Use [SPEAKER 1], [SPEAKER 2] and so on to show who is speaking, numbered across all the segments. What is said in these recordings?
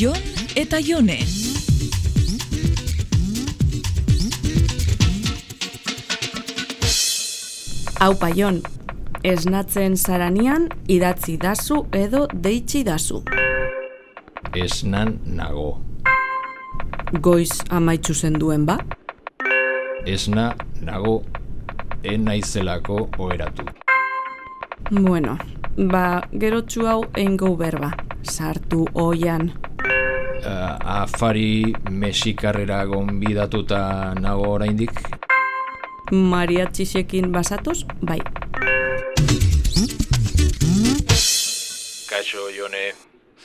[SPEAKER 1] Jon eta Jone.
[SPEAKER 2] Hau paion, esnatzen zaranean idatzi dazu edo deitsi dazu.
[SPEAKER 3] Esnan nago.
[SPEAKER 2] Goiz amaitzu zenduen ba?
[SPEAKER 3] Esna nago en naizelako oheratu.
[SPEAKER 2] Bueno, ba, gerotxu hau eingo berba. Sartu oian.
[SPEAKER 3] Ah, afari mesikarrera gonbidatuta nago oraindik.
[SPEAKER 2] Mariatxisekin basatuz, bai.
[SPEAKER 3] Kaixo Jone,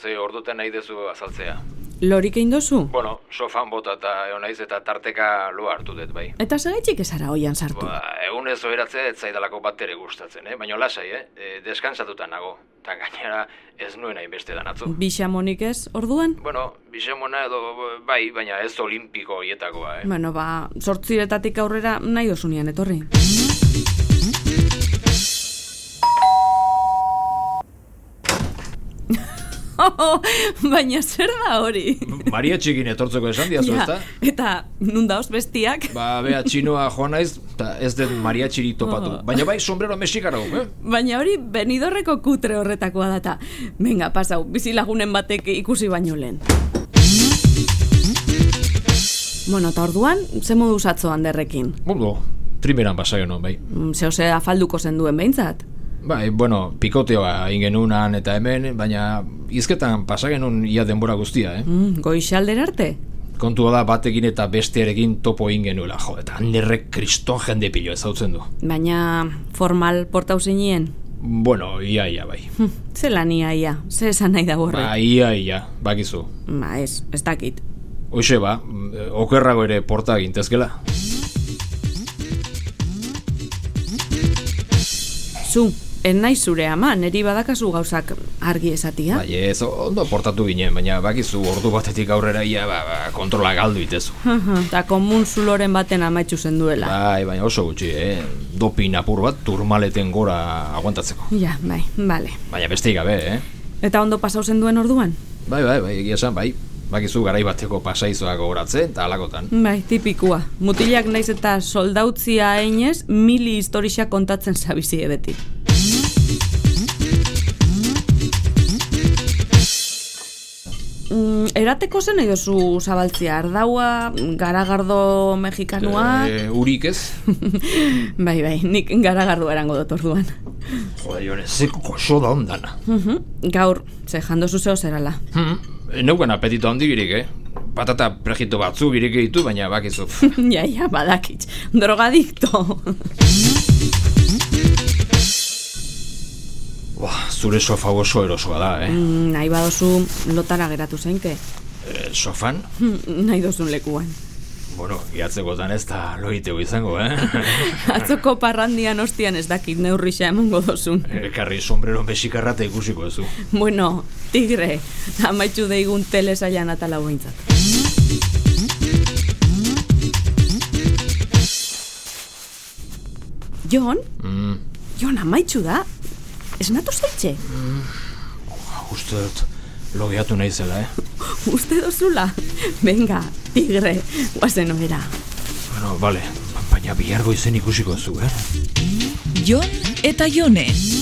[SPEAKER 3] ze ordutan nahi dezu azaltzea.
[SPEAKER 2] Lorik egin dozu?
[SPEAKER 3] Bueno, sofan bota eta egon naiz eta tarteka lo hartu dut bai.
[SPEAKER 2] Eta zergaitxik ezara oian sartu?
[SPEAKER 3] Ba, egun ez oheratzea ez zaidalako bat ere gustatzen, eh? Baina lasai, eh? E, deskansatuta nago. Eta gainera ez nuen hainbeste danatzu.
[SPEAKER 2] Bixamonik ez, orduan?
[SPEAKER 3] Bueno, bisemona edo bai, baina ez olimpiko hietakoa, eh?
[SPEAKER 2] Bueno, ba, sortziretatik aurrera nahi dozunean etorri. Baina zer da hori?
[SPEAKER 3] Maria txikin etortzeko esan diazu,
[SPEAKER 2] Ja,
[SPEAKER 3] ezta?
[SPEAKER 2] eta nun daoz bestiak?
[SPEAKER 3] Ba, bea txinoa joan naiz, eta ez dut Maria txiri topatu.
[SPEAKER 2] Oh.
[SPEAKER 3] Baina bai, sombrero mexikara gu, eh?
[SPEAKER 2] Baina hori benidorreko kutre horretakoa data. Venga, pasau, bizilagunen batek ikusi baino lehen. Bueno, eta orduan, ze modu zatzo handerrekin?
[SPEAKER 3] Bundo, trimeran basaio non, bai.
[SPEAKER 2] Mm, Zehose afalduko zenduen behintzat?
[SPEAKER 3] Bai, bueno, pikoteoa ingenun han eta hemen, baina izketan pasagenun ia denbora guztia, eh?
[SPEAKER 2] Mm, goixalder arte?
[SPEAKER 3] Kontua da batekin eta bestearekin topo ingenuela, jo, eta handerrek kriston jende pilo ezautzen du.
[SPEAKER 2] Baina formal portau zinien?
[SPEAKER 3] Bueno, ia, ia, bai.
[SPEAKER 2] Hm, ze lania ia, ze esan nahi da horrek?
[SPEAKER 3] Ba, ia, ia, bakizu.
[SPEAKER 2] Ba, ez, ez dakit.
[SPEAKER 3] Hoxe ba, mm, okerrago ere porta gintezkela.
[SPEAKER 2] Zu, ez nahi zure ama, neri badakazu gauzak argi esatia?
[SPEAKER 3] Bai, ez, ondo portatu ginen, baina bakizu ordu batetik aurrera ia ba, ba, kontrola galdu itezu.
[SPEAKER 2] Eta komun zuloren baten amaitzu zenduela.
[SPEAKER 3] Bai, baina oso gutxi, eh? Dopin apur bat turmaleten gora aguantatzeko.
[SPEAKER 2] Ja, bai, bale.
[SPEAKER 3] Baina besteik gabe, eh?
[SPEAKER 2] Eta ondo pasau zen duen orduan?
[SPEAKER 3] Bai, bai, bai, egia esan, bai. Bakizu garai bateko pasaizoa gogoratzen eta alakotan.
[SPEAKER 2] Bai, tipikua. Mutilak naiz eta soldautzia einez, mili historia kontatzen zabizie beti. Mm, erateko zen nahi duzu zabaltzia, ardaua, garagardo mexikanua...
[SPEAKER 3] Eh, urik ez?
[SPEAKER 2] bai, bai, nik garagardua erango dut orduan.
[SPEAKER 3] Joder, jone, ze koso da ondana.
[SPEAKER 2] Mhm. Gaur, ze jandozu zeo zerala.
[SPEAKER 3] Hmm, neukan apetito handi birik, eh? Patata prejito batzu birik ditu, baina bakizu. pf,
[SPEAKER 2] ja, ja, badakit. Drogadikto.
[SPEAKER 3] Buah, zure sofa oso erosoa da, eh?
[SPEAKER 2] Mm, nahi badozu lotara geratu zeinke.
[SPEAKER 3] eh sofan?
[SPEAKER 2] Mm, nahi dozun lekuan.
[SPEAKER 3] Bueno, iatzekotan ez da loiteu izango, eh?
[SPEAKER 2] Atzoko parrandian ostian ez dakit neurrisa emongo dozun.
[SPEAKER 3] Ekarri sombrero mexikarra eta ikusiko ezu.
[SPEAKER 2] Bueno, tigre, amaitzu deigun telesailan atala guintzat. Jon,
[SPEAKER 3] Mm,
[SPEAKER 2] Jon, amaitzu da? Ez natu zaitxe?
[SPEAKER 3] Ba, uste dut, logeatu nahi zela, eh?
[SPEAKER 2] Uste dozula? Venga, tigre, guazen obera.
[SPEAKER 3] Bueno, vale, baina bihargo izen ikusiko ezu, eh?
[SPEAKER 1] Jon eta Jone.